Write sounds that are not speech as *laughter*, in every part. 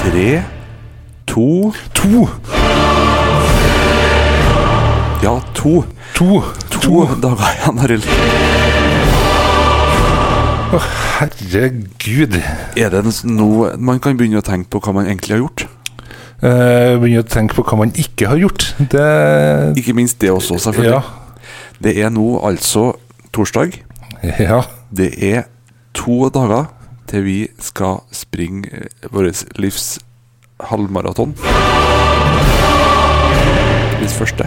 Tre, to To! Ja, to. To! To dager igjen, Arild. Herregud. Er det noe man kan begynne å tenke på hva man egentlig har gjort? Eh, begynner å tenke på hva man ikke har gjort. Det Ikke minst det også, selvfølgelig. Ja. Det er nå altså torsdag. ja. Det er to dager til vi skal springe eh, vårt livs halvmaraton. Mitt første.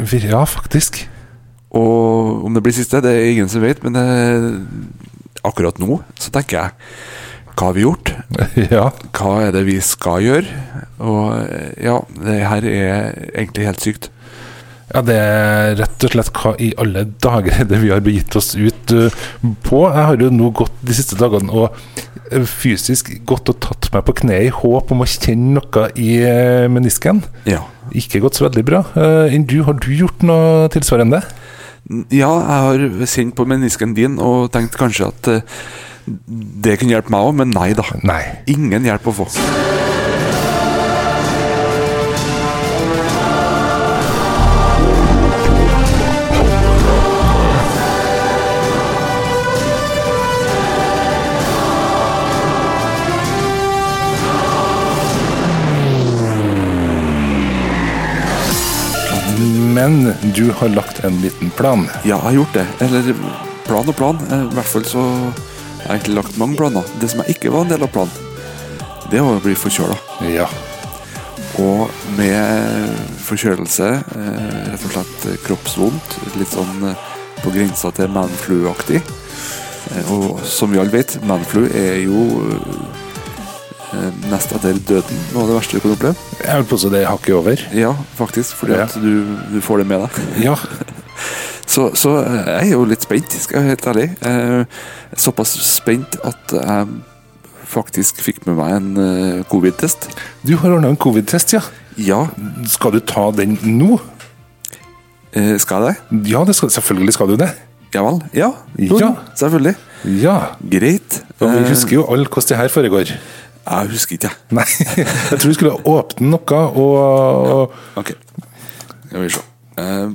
Vi- Ja, faktisk. *laughs* Og om det blir siste, det er ingen som vet, men eh, akkurat nå så tenker jeg hva har vi gjort? Ja. Hva er det vi skal gjøre? Og eh, ja, det her er egentlig helt sykt. Ja, det er rett og slett hva i alle dager er det vi har begitt oss ut uh, på. Jeg har jo nå gått de siste dagene og uh, fysisk gått og tatt meg på kneet i håp om å kjenne noe i uh, menisken. Ja. Ikke gått så veldig bra. Uh, Enn du, har du gjort noe tilsvarende? Ja, jeg har kjent på menisken din og tenkt kanskje at eh, det kunne hjelpe meg òg, men nei da. Nei. Ingen hjelp å få. Men du har lagt en liten plan. Ja, jeg har gjort det. Eller plan og plan. Eh, I hvert fall så har jeg egentlig lagt mange planer. Det som jeg ikke var en del av planen, det var å bli forkjøla. Ja. Og med forkjølelse, eh, rett og slett kroppsvondt, litt sånn eh, på grensa til manflu-aktig. Eh, Og som vi alle vet, manflu er jo eh, nest etter døden noe av det verste du kan oppleve. Jeg vil påstå det er hakket over. Ja, faktisk, fordi Ja. at du, du får det med deg. *laughs* Ja. Så, så eh, jeg er jo litt spent, skal jeg være helt ærlig. Eh, Såpass spent at jeg faktisk fikk med meg en eh, covid-test. Du har ordna en covid-test, ja. Ja, Skal du ta den nå? eh, skal jeg det? Ja, det skal, selvfølgelig skal du det. Ja vel? Ja, jo, Ja. selvfølgelig. Ja. Greit. Og vi Eh, husker jo alle hvordan det her foregår. *laughs* Jeg husker ikke, jeg. Nei, jeg tror vi skulle åpne noe og, Ok. Skal vi se. Eh,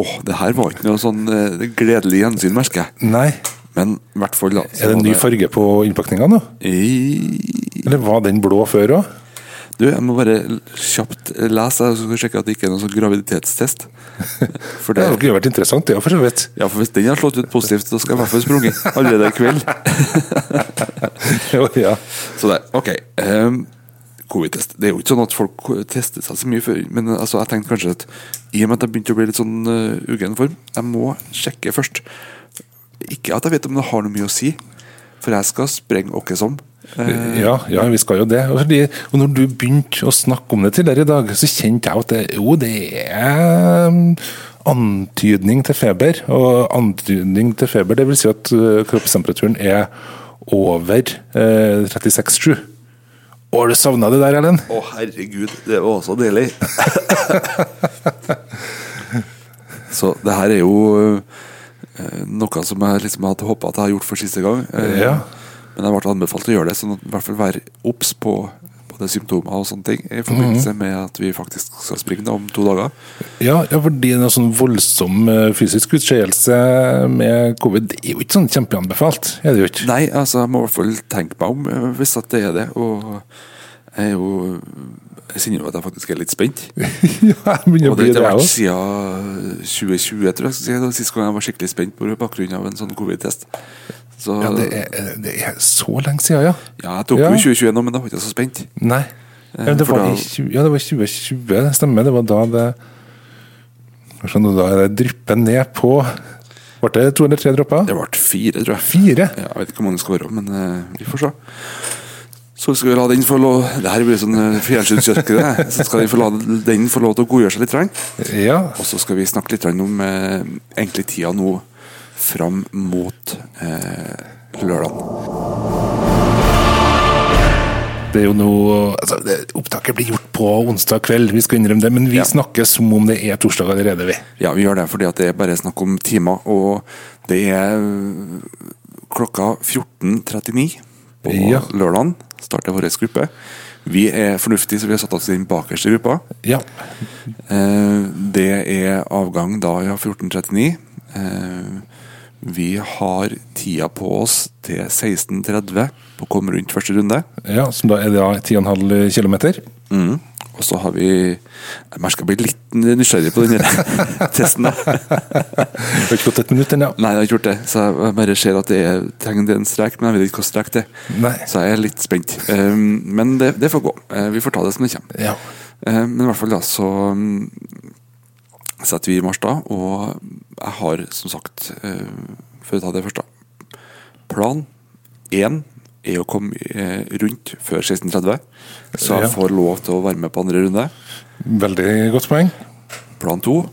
Åh, det her var ikke noe sånn eh, gledelig gjensyn, merker jeg. Nei, Men i hvert fall, da. så er det en ny var farge på innpakninga nå? det- I- Eller var den blå før òg? Du, jeg må bare kjapt lese, jeg skal sjekke at det ikke er noen sånn *laughs* graviditetstest. For Det det kunne vært interessant, ja, for så vidt. *laughs* Ja, for hvis den har slått ut positivt, så skal jeg i hvert fall sprunget allerede i kveld. Jo, ja. Så der, ok ehm, Covid-test, det er jo ikke sånn at folk tester seg så mye før Men altså, jeg tenkte kanskje at I og med at jeg begynte å bli litt sånn uh, ugen form Jeg må sjekke først Ikke at jeg vet om det har noe mye å si For jeg skal sprenge åkke som Eh, Ja, ja, vi skal jo det. Og, fordi, og når du begynte å snakke om det tidligere i dag, så kjente jeg at det, jo, det er mm, antydning til feber. Og antydning til feber, det vil si at ø, kroppstemperaturen er over eh, 36,7. Å, har du savna det der, Erlend? Å herregud, det var også deilig Så det her er jo eh, Noe som jeg liksom hadde håpet at jeg hadde gjort for siste gang Eh, Ja. Men jeg ble anbefalt å gjøre det, så i hvert fall være obs på både symptomer og sånne ting i forbindelse med at vi faktisk skal springe da om to dager. Ja, ja fordi en sånn voldsom eh, fysisk utskeielse med covid det er jo ikke sånn kjempeanbefalt. er det jo ikke? Nei, altså jeg må i hvert fall tenke meg om eh, hvis at det er det. Og jeg er jo Jeg kjenner jo at jeg faktisk er litt spent. *laughs* ja, jeg begynner Og å det har bli ikke det vært også. siden 2020, tror jeg. jeg. skal si. Det var Sist gang jeg var skikkelig spent på bakgrunn av en sånn covid-test. Så Ja, det, er, det er så lenge siden, ja. ja, jeg tok Ja. jo 2021 nå, men da var jeg ikke så spent. Nei. Ja, det, for var da- i 20, ja, det var 2020, det stemmer. Det var da det Sånn, Da det drypper ned på Ble det to eller tre dråper? Det ble fire, tror jeg. Fire? Ja, jeg vet ikke hvor mange det skal være, men eh, vi får se. Så skal vi la den få lov Det her blir sånn eh, fjernsynskjøkken. det. Så skal vi få la den få lov til å godgjøre seg litt. grann. Ja. Og så skal vi snakke litt grann om eh, egentlig tida nå fram mot eh, lørdag. Det er jo noe altså, det, Opptaket blir gjort på onsdag kveld, vi skal innrømme det. Men vi Ja. snakker som om det er torsdag allerede, vi. Ja, vi gjør det fordi at det er bare snakk om øh, timer, og det er eh, klokka 14.39 på Ja. lørdagen. Starter vår gruppe. Vi er fornuftige, så vi har satt oss i den bakerste gruppa. Ja. Eh, Det er avgang da ja, 14.39. Eh, Vi har tida på oss til 16.30 på å komme rundt første runde. ja, Som da er det da 10,5 km. Mm. Og så har vi Man skal bli litt nysgjerrig på den her testen. da. Det har ikke gått et minutt ennå. Nei, jeg har ikke gjort det. Så jeg bare ser at det er trenger en strek, men jeg vet ikke hvilken strek det er. Nei. Så jeg er litt spent. Eh, Men det, det får gå. Eh, Vi får ta det som det kommer. Ja. Eh, Men i hvert fall da så mm, setter vi i mars da, og jeg har som sagt, eh, for å ta det først da, plan 1 er å komme eh, rundt før 16.30, så jeg Ja. får lov til å være med på andre runde. Veldig godt poeng. Plan 2,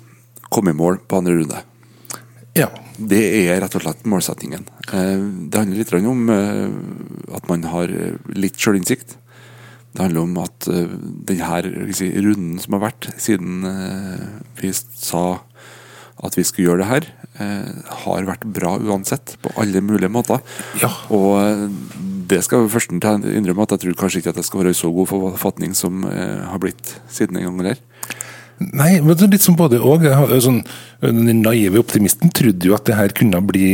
komme i mål på andre runde. Ja. Det er rett og slett målsettingen. Eh, Det handler litt grann om eh, at man har eh, litt sjølinnsikt. Det handler om at eh, denne si, runden som har vært siden eh, vi sa at vi skulle gjøre det her, eh, har vært bra uansett, på alle mulige måter. Ja. Og eh, det skal jeg først innrømme at jeg tror kanskje ikke at jeg skal være i så god forfatning som eh, har blitt siden den gangen der. Nei, men det er litt som både og. Jeg har jo Sånn, den naive optimisten trodde jo at det her kunne bli,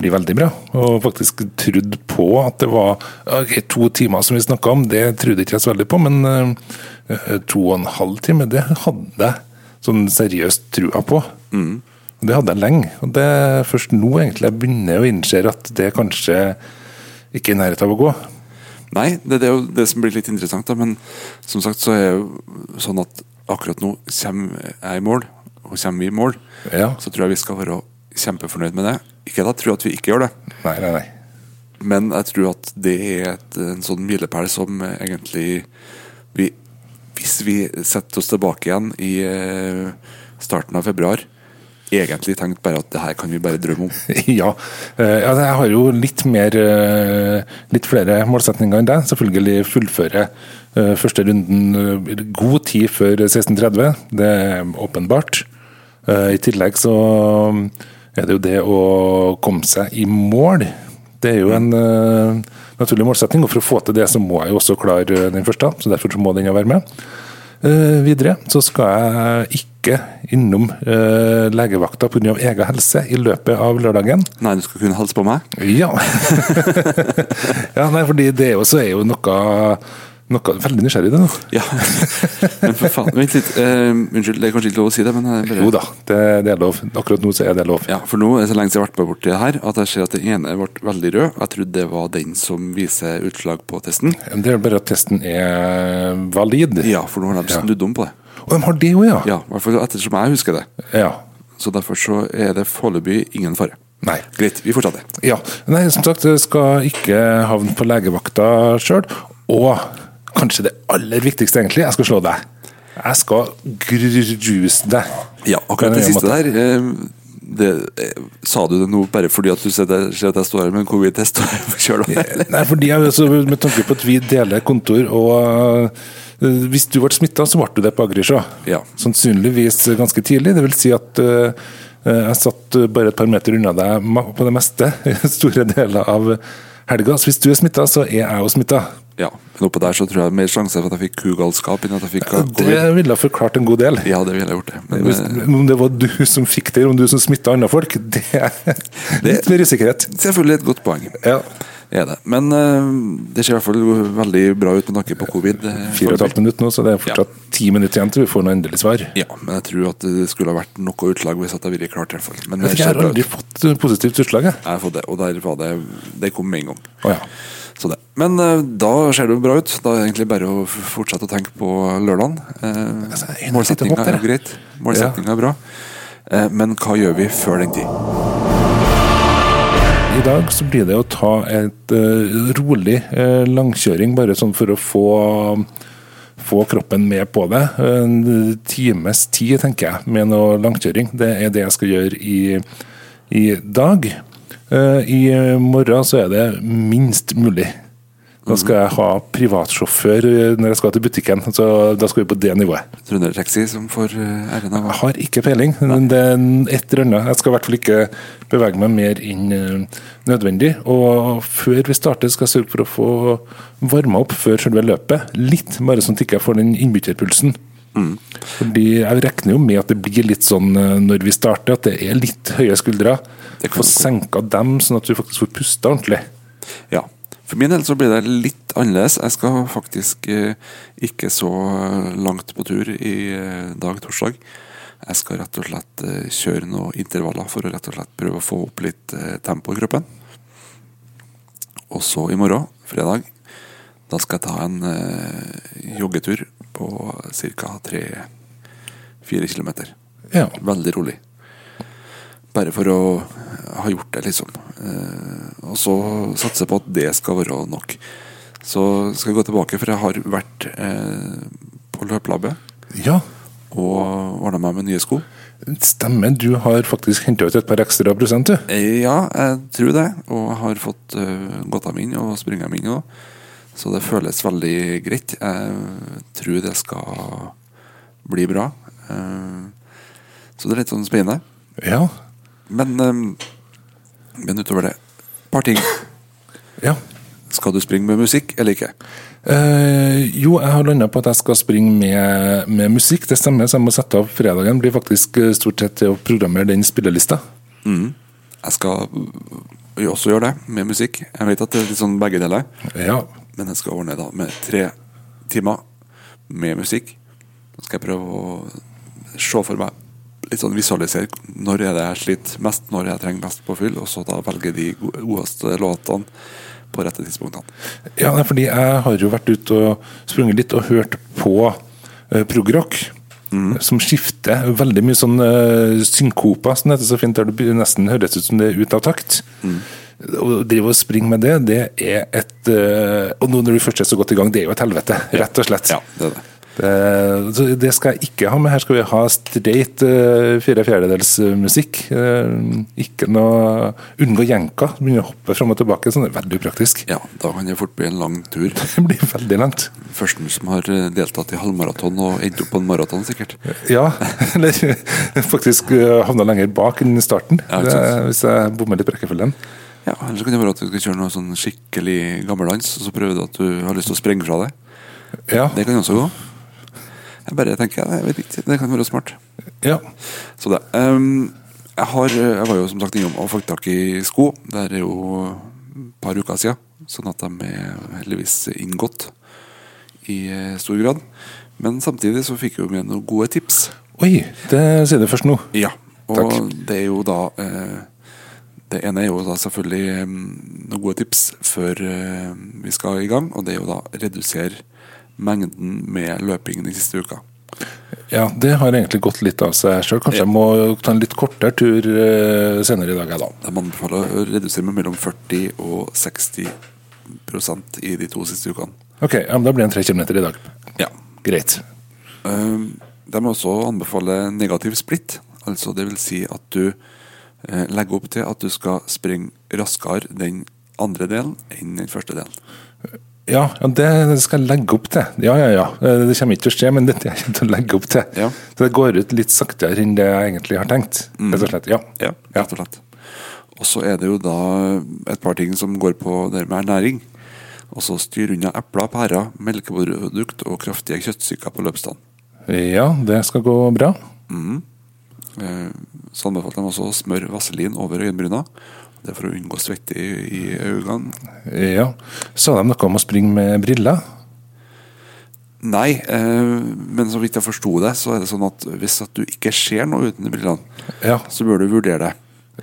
bli veldig bra. Og faktisk trodde på at det var ok, to timer som vi snakka om, det trodde ikke jeg så veldig på. Men eh, to og en halv time, det hadde jeg sånn seriøst trua på. Og Det hadde jeg lenge. Og det er først nå egentlig jeg begynner å innse at det kanskje ikke er i nærheten av å gå. Nei, det, det er jo det som blir litt interessant, da. Men som sagt så er det jo sånn at akkurat nå kommer jeg i mål, og kommer vi i mål, Ja. så tror jeg vi skal være kjempefornøyd med det. Ikke at jeg tror at vi ikke gjør det, Nei, nei, nei. men jeg tror at det er et, en sånn milepæl som eh, egentlig vi, Hvis vi setter oss tilbake igjen i eh, starten av februar, egentlig tenkt bare at det her kan vi bare drømme om. *laughs* Ja. eh, ja, jeg har jo litt mer eh, Litt flere målsetninger enn deg. Selvfølgelig fullføre eh, første runden eh, god tid før 16.30. Det er åpenbart. Eh, I tillegg så mm, er det jo det å komme seg i mål. Det er jo en eh, naturlig målsetting, og for å få til det så må jeg jo også klare eh, den første. så Derfor så må den jo være med. Eh, videre så skal jeg ikke innom eh, legevakta pga. egen helse i løpet av lørdagen. Nei, du skal kunne hilse på meg? Ja. *laughs* ja nei, fordi det er jo- så er jo noe, noe Veldig nysgjerrig, det nå. Ja. *laughs* Men for faen, vent litt. Eh, unnskyld, det er kanskje ikke lov å si det, men jeg bare Jo da, det, det er lov. Akkurat nå så er det lov. Ja, for nå er det så lenge siden jeg har vært med borti det her, at jeg ser at den ene ble veldig rød. Jeg trodde det var den som viser utslag på testen. Det er bare at testen er valid. Ja, for nå har de Ja. snudd om på det. Og de har det jo, ja. Ja, i hvert fall ettersom jeg husker det. ja. Så derfor så er det foreløpig ingen fare. Nei. Greit, vi fortsetter. Ja, nei, som sagt, jeg skal ikke havne på legevakta sjøl. Og kanskje det aller viktigste, egentlig, jeg skal slå deg. Jeg skal gruse deg. Ja, akkurat På en det eller siste der eh, det, eh, Sa du det nå bare fordi at du ser, det, ser at jeg står her med en covid-test og er forkjøla? Nei, fordi jeg, altså, Med tanke på at vi deler kontor, og øh, hvis du ble smitta, så ble du det på Agrisjå. Ja. Sannsynligvis ganske tidlig. Det vil si at øh, øh, jeg satt øh, bare et par meter unna deg ma- på det meste *laughs* store deler av helga. Så hvis du er smitta, så er jeg jo smitta. Ja, men oppå der så tror jeg det er mer sjanse for at jeg fikk kugalskap enn at jeg fikk Det covid. ville ha forklart en god del. Ja, det ville jeg gjort, det. Men, Hvis, eh, om det var du som fikk det, eller om du som smitta andre folk, *laughs* det er litt mer usikkerhet. selvfølgelig et godt poeng. Ja. Det er det. Men eh, det ser i hvert fall veldig bra ut med tanke på covid. eh, Fire og et halvt minutt nå, så det er fortsatt ti minutter igjen til vi får noe endelig svar. Ja, men jeg tror at det skulle ha vært noe utslag hvis at jeg ville klart det. i hvert fall. Men det Jeg tror jeg ser har bra ut. aldri fått eh, positivt utslag, jeg. Jeg har fått det, og der var det Det kom med en gang. Å ja. Så det. Men eh, da ser det jo bra ut. Da er det egentlig bare å f- fortsette å tenke på lørdagen. Eh, Altså, jeg er helt Målsettinga opp der, er jo jeg. greit. Målsettinga er bra. Eh, Men hva gjør vi før den tid? I dag så blir det å ta et eh, rolig eh, langkjøring, bare sånn for å få, få kroppen med på det. En eh, times tid, tenker jeg, med noe langkjøring. Det er det jeg skal gjøre i, i dag. Eh, I morgen så er det minst mulig. Da skal jeg ha privatsjåfør eh, når jeg skal til butikken. Så da skal vi på det nivået. Trøndertaxi som får eh, æren av Jeg har ikke peiling. men Det er en- et eller annet. Jeg skal i hvert fall ikke bevege meg mer enn eh, nødvendig. Og før vi starter, skal jeg sørge for å få varma opp før selve løpet. Litt, bare sånn at jeg ikke får den innbytterpulsen. Mm. Fordi Jeg regner jo med at det blir litt sånn eh, når vi starter, at det er litt høye skuldre. Det kan Få senka dem, sånn at du faktisk får pusta ordentlig. Ja. For min del så blir det litt annerledes. Jeg skal faktisk eh, ikke så langt på tur i eh, dag torsdag. Jeg skal rett og slett eh, kjøre noen intervaller for å rett og slett prøve å få opp litt eh, tempo i kroppen. Og så i morgen, fredag, da skal jeg ta en eh, joggetur på ca. 3-4 kilometer. Ja. Veldig rolig. Bare for å ha gjort det, liksom. Eh, og så satse på at det skal være nok. Så skal jeg gå tilbake, for jeg har vært eh, på løpelabbet ja. og ordna meg med nye sko. Stemmer, du har faktisk henta ut et par ekstra prosent, du. Eh, ja, jeg tror det. Og jeg har fått eh, gått dem inn og sprunget dem inn òg. Så det føles veldig greit. Jeg tror det skal bli bra. Eh, så det er litt sånn spennende. Ja. Men, ehm, men utover det et par ting. ja. Skal du springe med musikk eller ikke? Eh, jo, jeg har landa på at jeg skal springe med, med musikk. Det stemmer, så jeg må sette av fredagen. Blir faktisk eh, stort sett til å programmere den spillelista. Jeg skal øh, også gjøre det, med musikk. Jeg vet at det er litt sånn begge deler. Ja. Men jeg skal ordne da med tre timer med musikk. Så skal jeg prøve å se for meg Litt sånn visualisere når er det jeg sliter mest, når jeg trenger mest påfyll, og så da velge de go- godeste låtene på rette tidspunktene. ja, nei, fordi jeg har jo vært ute og sprunget litt og hørt på eh, progrock. Som skifter veldig mye sånn eh, synkopa, som det heter så fint, der det blir- nesten høres ut som det er ut av takt. Å drive og springe med det, det er et eh, Og nå når du først er så godt i gang, det er jo et helvete, rett og slett. Ja, det er det. Eh, så Det skal jeg ikke ha med. Her skal vi ha streit eh, fire fjerdedels eh, musikk. Eh, Ikke noe Unngå jenka. Begynne å hoppe fram og tilbake. Sånn, det er veldig upraktisk. Ja, da kan det fort bli en lang tur. *laughs* Det blir veldig langt. Førsten som har eh, deltatt i halvmaraton og endt opp på en maraton, sikkert. Ja, *laughs* eller faktisk eh, havna lenger bak enn i starten. Ja, ikke det, sant. hvis jeg bommer litt på rekkefølgen. Ja, Ellers kan det være at du skal kjøre noe sånn skikkelig gammellands, og så prøver du at du har lyst til å sprenge fra det. Ja, Det kan jo også gå. Jeg bare tenker, jeg vet ikke, det kan være smart. ja. Så det. ehm, jeg, har, jeg var jo som sagt innom og fikk tak i sko. Det er jo et par uker siden, sånn at de er heldigvis inngått i eh, stor grad. Men samtidig så fikk jeg jo med noen gode tips. Oi, det sier du først nå. Ja, og Takk. det er jo da eh, Det ene er jo da selvfølgelig eh, noen gode tips før eh, vi skal i gang, og det er jo da redusere mengden med løping den siste uka. Ja, Det har egentlig gått litt av seg sjøl. Kanskje jeg må ta en litt kortere tur eh, senere i dag. jeg, da. De anbefaler å redusere med mellom 40 og 60 prosent i de to siste ukene. Ok, ja, men Da blir det en tre kilometer i dag. Ja. Greit. Eh, de må også anbefale negativ splitt, altså det vil si at du eh, legger opp til at du skal springe raskere den andre delen enn den første delen. Ja, ja, det skal jeg legge opp til. Ja, ja, ja. Eh, Det kommer ikke til å skje, men dette jeg kommer til å legge opp til. Ja. Så det går ut litt saktere enn det jeg egentlig har tenkt. Mm. Rett og slett. Ja. Ja, rett og slett. Og så er det jo da et par ting som går på det med ernæring. Og så styr unna epler, pærer, melkeprodukt og kraftige kjøttstykker på løpsdagen. Mm. ja, det skal gå bra. Eh, Så anbefalte de også å smøre vaselin over øyenbryna. Det er for å unngå svette i, i øynene. Ja. Sa de noe om å springe med briller? Nei, eh, men så vidt jeg forsto det, så er det sånn at hvis at du ikke ser noe uten brillene, Ja. så bør du vurdere det.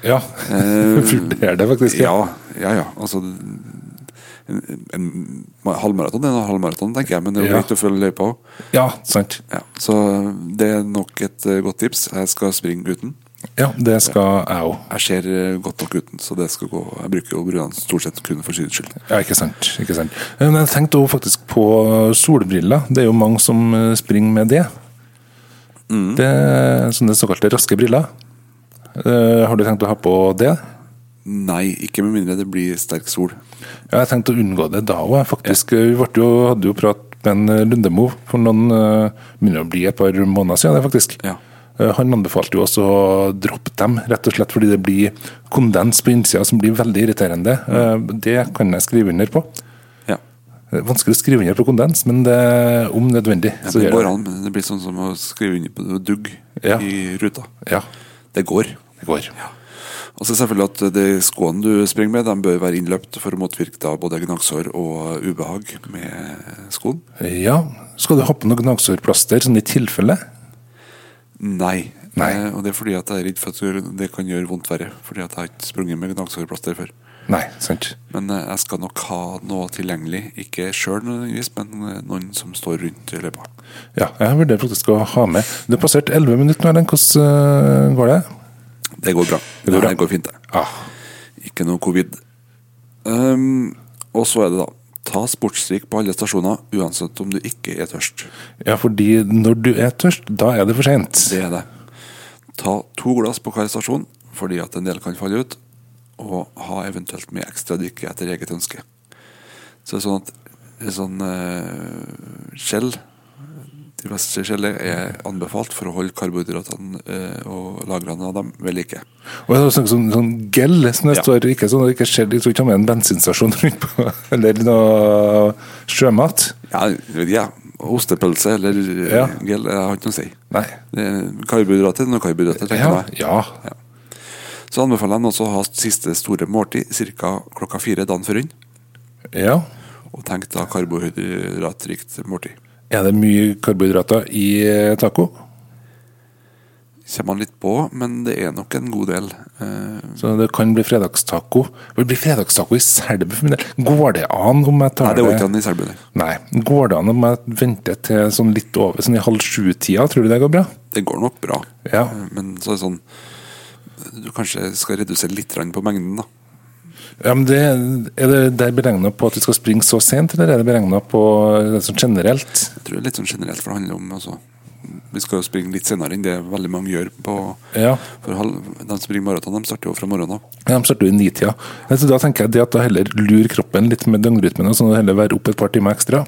ja. *laughs* Eh, Vurder det, faktisk. Ja, ja, ja. Altså, en, en halvmaraton er en halvmaraton, tenker jeg, men det er jo Ja. greit å følge løypa òg. ja sant. Ja, så det er nok et eh, godt tips. Jeg skal springe uten. Ja, det skal jeg òg. Jeg ser eh, godt nok uten, så det skal gå. Jeg bruker jo brynene stort sett kun for syns skyld. Ja, ikke sant. ikke sant. Eh, Men jeg tenkte også faktisk på eh, solbriller. Det er jo mange som eh, springer med det. Det er Sånne såkalte raske briller. Eh, Har du tenkt å ha på det? Nei, ikke med mindre det blir sterk sol. Ja, jeg tenkte å unngå det da òg, faktisk. Vi ble jo, hadde jo prat med en eh, Lundemo for noen eh, begynner å bli et par måneder siden, det faktisk. Ja. Eh, Han anbefalte jo oss å droppe dem, rett og slett fordi det blir kondens på innsida som blir veldig irriterende. Eh, Det kan jeg skrive under på. Ja. Det er Eh, Vanskelig å skrive under på kondens, men det er om nødvendig. Ja, så det gjør jeg går an, men det blir sånn som å skrive under på noe dugg Ja. i ruta. det. Ja, Det går. det går. Og så selvfølgelig at de skoene du springer med, de bør være innløpt for å motvirke da både gnagsår og ubehag med skoen. Ja, skal du ha på noe gnagsårplaster, sånn i tilfelle? Nei. Nei. Eh, og det er fordi at jeg er redd for at det kan gjøre vondt verre. Fordi at jeg har ikke sprunget med gnagsårplaster før. Nei, sant. Men eh, jeg skal nok ha noe tilgjengelig. Ikke sjøl nødvendigvis, men eh, noen som står rundt i løypa. Ja, jeg vurderer faktisk å ha med. Det er passert 11 minutter nå, Erlend. Hvordan øh, går det? Det går bra. Det går bra. Nei, det går fint, det. Ah, Ikke noe covid. Ehm, og så er det, da. Ta sportsdrikk på alle stasjoner, uansett om du ikke er tørst. ja, fordi når du er tørst, da er det for sent. Det er det. Ta to glass på hver stasjon, fordi at en del kan falle ut. Og ha eventuelt med ekstra drikke etter eget ønske. Så det er sånn at det er sånn eh, skjell De fleste skjell er anbefalt for å holde karbohydratene eh, og lagrene av dem ved like. Og det er sånn, sånn, sånn gel, som det Ja. står, ikke sånn, ikke skjell, jeg tror ikke han er en bensinstasjon rundt på, *laughs* eller noe sjømat. Ja, ja ostepølse eller eh, Ja. gel, jeg har ikke noe å si. Nei. Det er Karbohydrater noe karbohydrater, tenker Ja, jeg. ja. Så anbefaler jeg dem også å ha siste store måltid ca. klokka fire dagen før inn. ja. Og tenk da karbohydratrikt måltid. Er det mye karbohydrater i eh, taco? Kommer man litt på, men det er nok en god del. Eh, Så det kan bli fredagstaco. Det blir fredagstaco i Selbu for min del. Går det an om jeg nei, tar det var ikke han i Selbu, nei. Nei. Går det an om jeg venter til sånn litt over sånn i halv sju-tida? Tror du det går bra? Det går nok bra. Ja. Eh, Men så er det sånn Du kanskje skal redusere litt grann på mengden, da. ja men det, er det der beregna på at vi skal springe så sent, eller er det beregna på det sånn generelt? Jeg tror det er litt sånn generelt, for det handler om altså, Vi skal jo springe litt senere enn det veldig mange gjør på Ja. For halv, de som springer maraton, de starter jo fra morgenen av. Ja, De starter jo i nitida. Nei, Så da tenker jeg det at da heller lure kroppen litt med døgnrytmen, og sånn at heller være opp et par timer ekstra.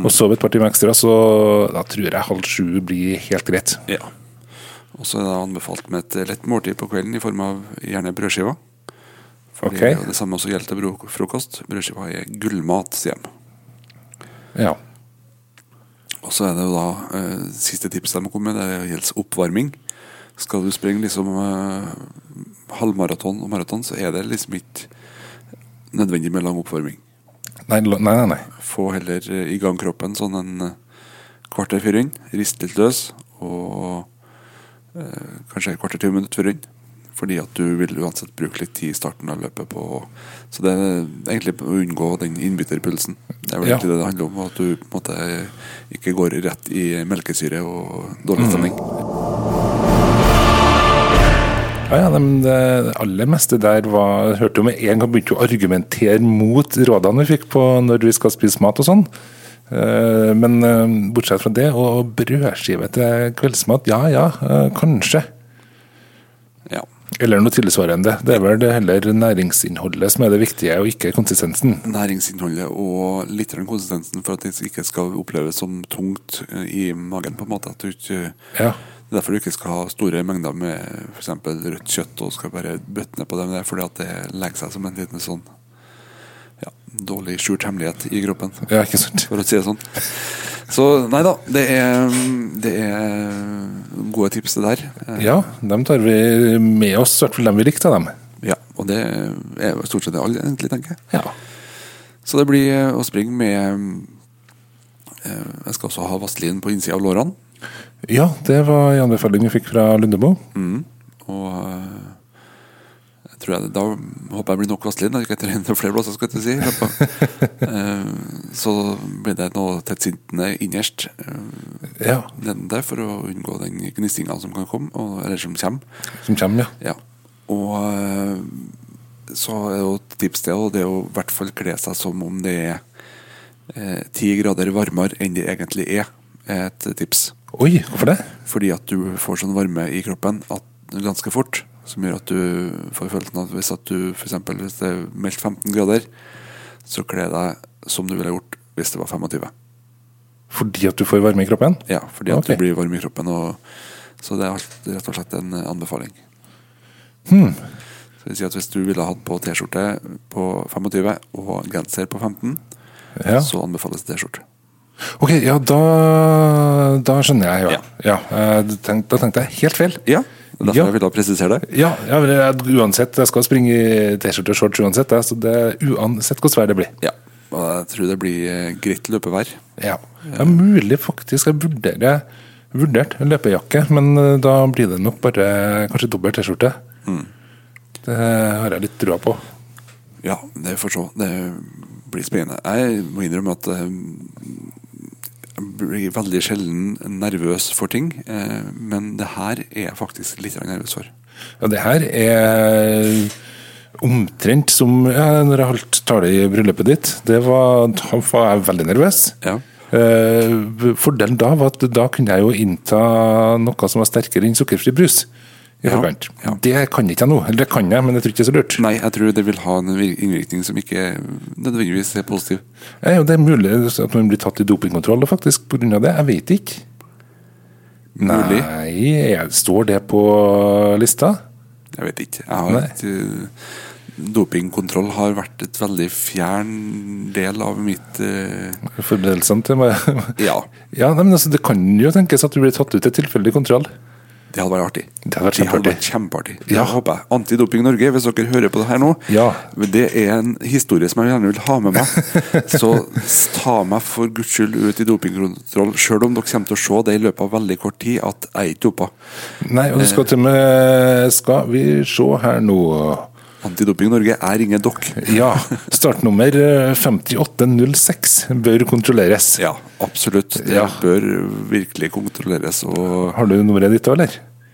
Og sove et par timer ekstra, så da tror jeg halv sju blir helt greit. Ja. Og så er det anbefalt med et lett måltid på kvelden i form av gjerne brødskiver. Fordi Ok. Det samme også gjelder til bro- frokost. Brødskiva er gullmat, sier de. Ja. Og så er det jo da eh, siste tipset de kom med, det gjelder oppvarming. Skal du springe liksom eh, halvmaraton og maraton, så er det liksom ikke nødvendig med lang oppvarming. Nei, la- nei, nei. nei. Få heller eh, i gang kroppen sånn en eh, kvarter før inn, rist litt løs, og eh, kanskje et kvarter 20 minutter før inn. Fordi at du vil uansett bruke litt tid i starten av løpet på Så det er egentlig å unngå den innbytterpulsen. Det er vel Ja. egentlig det det handler om, at du på en måte ikke går rett i melkesyre og dårlig stemning. Ja, ja, men det aller meste der var Hørte jo med en gang begynte jo å argumentere mot rådene vi fikk på når vi skal spise mat og sånn. Eh, Men eh, bortsett fra det, og brødskive til kveldsmat, ja ja, eh, kanskje. Ja. Eller noe tilsvarende. Det er vel det heller næringsinnholdet som er det viktige, og ikke konsistensen. Næringsinnholdet og litt grann konsistensen for at det ikke skal oppleves som tungt eh, i magen. på en måte, at du ikke Ja. Det er derfor du ikke skal ha store mengder med f.eks. rødt kjøtt og skal bare bøtte ned på det. Men det er fordi at det legger seg som en liten sånn ja, dårlig skjult hemmelighet i kroppen, ja, ikke sant? for å si det sånn. Så nei da, det er, det er gode tips det der. Eh, Ja, dem tar vi med oss, i hvert fall dem vi likte av dem. Ja, og det er jo stort sett det alle egentlig tenker. Ja. Så det blir eh, å springe med eh, Jeg skal også ha vaselin på innsida av lårene. ja, det var en anbefaling vi fikk fra Lundemo. Mm. Og eh, jeg tror jeg, da håper jeg blir nok vaselin. da. Jeg kan ikke trene til flere plasser, skal jeg til å si. i løpet av- Eh, så blir det noe tettsintende innerst eh, Ja, nedenfor for å unngå den gnistinga som kan komme, og, eller som kommer. Som kommer, ja. Ja. Og eh, så er jo et tips til, og det er å i hvert fall kle seg som om det er eh, ti grader varmere enn det egentlig er, er et tips. Oi, hvorfor det? Fordi at du får sånn varme i kroppen at, ganske fort. Som gjør at du får følelsen av at hvis at du for eksempel, hvis det er meldt 15 grader, så kle deg som du ville gjort hvis det var 25. Fordi at du får varme i kroppen? Ja, fordi at Ok. du blir varm i kroppen. Og, så det er alt- rett og slett en eh, anbefaling. Hmm. Så det vil si at Hvis du ville hatt på T-skjorte på 25 og genser på 15, Ja. så anbefales T-skjorte. Ok, ja, da, da skjønner jeg, ja. ja. eh, du tenk- da tenkte jeg helt feil. Ja, det er derfor Ja. jeg ville presisere det. Ja, ja men jeg, uansett, jeg skal springe i T-skjorte og shorts uansett, jeg, så det, uansett hvordan vær det blir. Ja, og jeg tror det blir eh, greit løpevær. Ja, det er mulig faktisk jeg vurderer vurdert en løpejakke, men eh, da blir det nok bare kanskje dobbelt T-skjorte. Det har jeg litt trua på. Ja, det får se. Det blir spennende. Jeg må innrømme at eh, jeg blir veldig sjelden nervøs for ting, eh, men det her er jeg faktisk litt grann nervøs for. Ja, det her er omtrent som ja, når jeg holdt tale i bryllupet ditt. Det var, da var jeg veldig nervøs. Ja. Eh, fordelen da var at da kunne jeg jo innta noe som var sterkere enn sukkerfri brus. I Ja, forkant. ja. Mm. Det kan jeg ikke jeg nå. Eller det kan jeg, men jeg tror ikke det er så lurt. Nei, jeg tror det vil ha en vir- innvirkning som ikke nødvendigvis er positiv. Ja, Eh, jo, det er mulig at man blir tatt i dopingkontroll da, faktisk pga. det. Jeg vet ikke. Mulig. Nei, jeg, står det på lista? Jeg vet ikke. Jeg har Nei. et, eh, dopingkontroll har vært et veldig fjern del av mitt eh, Forberedelsene til meg *laughs* Ja, Ja, nei, men altså, Det kan jo tenkes at du blir tatt ut til tilfeldig kontroll. det hadde vært artig. Det hadde vært Det hadde kjempeartig. vært kjempeartig. Det Ja. håper jeg. Antidoping Norge, hvis dere hører på det her nå, Ja. men det er en historie som jeg gjerne vil ha *laughs* med meg. Så s- ta meg for guds skyld ut i dopingkontroll, sjøl om dere kommer til å se det i løpet av veldig kort tid at jeg er ikke dopa. Nei, og du skal til og med Skal vi se her nå Antidoping Norge, jeg ringer dere. Ja. Startnummer eh, 5806 bør kontrolleres. Ja, absolutt. Det Ja. bør virkelig kontrolleres. Og Har du nummeret ditt òg, eller?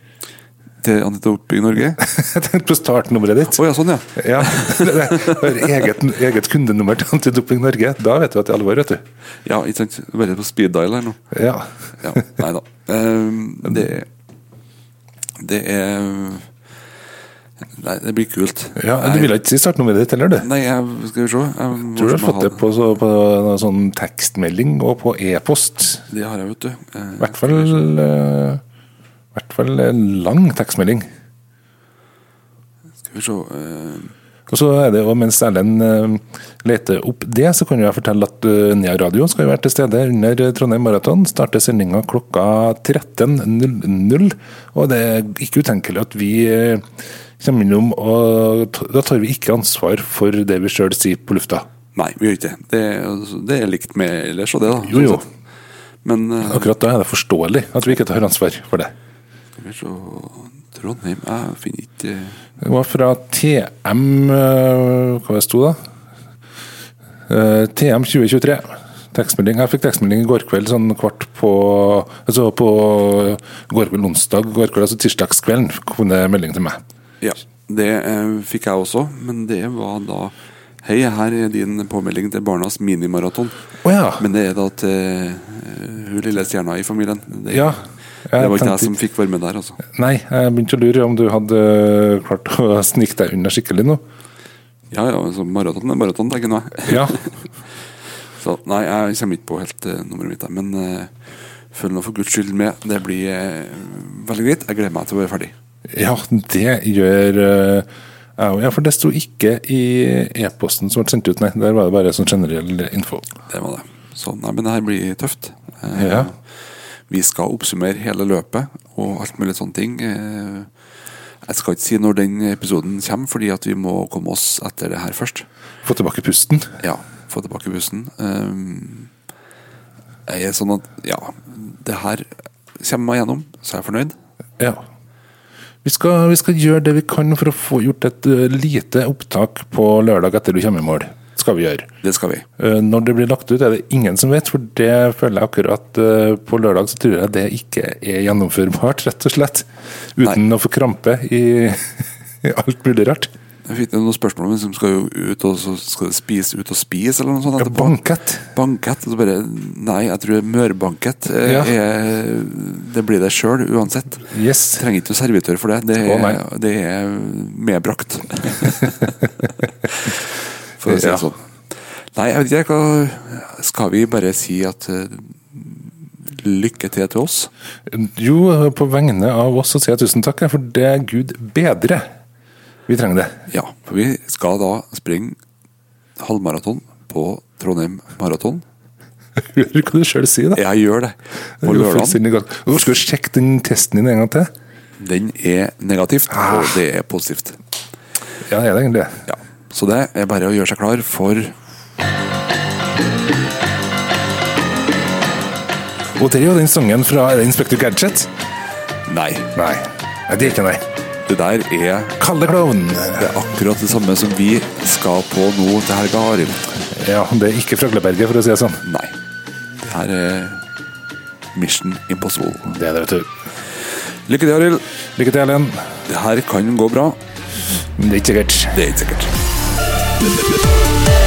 *laughs* til Antidoping Norge Jeg tenkte på startnummeret ditt. Å ja, sånn, ja. Ja, det er eget, eget kundenummer til Antidoping Norge. Da vet du at det er alvor, vet du. Ja, ikke sant. Bare på speed dial her nå. Ja. Ja, nei da. Ehm, det Det er Nei, det blir kult. ja du ville ikke si startnummeret ditt heller, du. Nei, jeg skal vi se. Jeg må Tror se om du har jeg fått det på, så, på noe sånn tekstmelding og på e-post. Det har jeg, vet du. Eh, I hvert fall eh, i hvert fall en lang tekstmelding. Skal vi se eh, Og så er det jo, Mens Erlend eh, leter opp det, så kan jeg fortelle at eh, Nea Radio skal jo være til stede under eh, Trondheim Maraton. Starter sendinga klokka 13.00. Og det er ikke utenkelig at vi eh, kommer innom og t- Da tar vi ikke ansvar for det vi sjøl sier på lufta. Nei, vi gjør ikke det. det. er- altså, Det er likt med ellers og det, da. Jo, jo. sånn sett. Men eh, Akkurat da er det forståelig at vi ikke tar ansvar for det. skal vi se Trondheim Jeg finner ikke Det var fra TM eh, Hva det sto da? Eh, TM 2023. Tekstmelding. Jeg fikk tekstmelding i går kveld sånn kvart på Altså på går kveld onsdag, går kveld, altså tirsdagskvelden, kom det melding til meg. Ja, det eh, fikk jeg også, men det var da Hei, her er din påmelding til barnas minimaraton. Å ja. Men det er da til eh, hun lille stjerna i familien. Det, ja. det var ikke tenkte- jeg som fikk varmen der, altså. Nei, jeg begynte å lure om du hadde eh, klart å *laughs* snike deg unna skikkelig nå. Ja ja, altså, maraton er maraton, tenker nå jeg. Ja. *laughs* Så nei, jeg kommer ikke på helt eh, nummeret mitt, der, men eh, følg nå for guds skyld med. Det blir eh, veldig greit. Jeg gleder meg til å være ferdig. Ja, det gjør eh, jeg òg. Ja, for det sto ikke i e-posten som ble sendt ut, nei. Der var det bare sånn generell info. Det var det. Så nei, men det her blir tøft. Eh, Ja. Vi skal oppsummere hele løpet og alt mulig sånne ting. Eh, Jeg skal ikke si når den episoden kommer, fordi at vi må komme oss etter det her først. Få tilbake pusten. Ja, få tilbake bussen. Eh, Jeg er sånn at ja, det her kommer meg gjennom, så er jeg fornøyd. Ja. Vi skal, vi skal gjøre det vi kan for å få gjort et ø, lite opptak på lørdag etter du kommer i mål. Skal vi gjøre. Det skal vi. Ø, Når det blir lagt ut, er det ingen som vet, for det føler jeg akkurat ø, på lørdag så tror jeg det ikke er *laughs* gjennomførbart, rett og slett. Uten å få krampe i, i alt mulig rart. Jeg fikk noen spørsmål om liksom, skal jo ut og så skal det spise ut og spise, eller noe sånt. Ja, etterpå. bankett. Bankett? Og så bare Nei, jeg tror mørbankett. eh, Ja. Er, det blir det sjøl, uansett. Yes. Trenger ikke noen servitør for det. Det Å, er, nei. det er *laughs* medbrakt. for å si det Ja. sånn. Nei, jeg vet ikke hva Skal vi bare si at eh, lykke til til oss? Jo, på vegne av oss så sier jeg tusen takk, ja, for det er Gud bedre. Vi trenger det. *laughs* Ja, for vi skal da springe halvmaraton på Trondheim maraton. Hører hva du sjøl sier, da. Jeg gjør det på Det er jo lørdag. fullstendig galt. Å, Skal du sjekke den testen din en gang til? Den er negativt, og Ah. det er positivt. Ja, er det egentlig det? Ja. Så det er bare å gjøre seg klar for Og det er jo den sangen fra er det Inspector Gadget. Nei. Nei. Nei, det er ikke nei. Det der er Kalle klovn. det er akkurat det samme som vi skal på nå til helga, Arild. Ja, det er ikke Frøgleberget, for å si det sånn. Nei. Det her er Mission Impossible. Det er det, vet du. Lykke til, Arild. Lykke til, Erlend. Det her kan gå bra. Det er ikke sikkert. Det er ikke sikkert.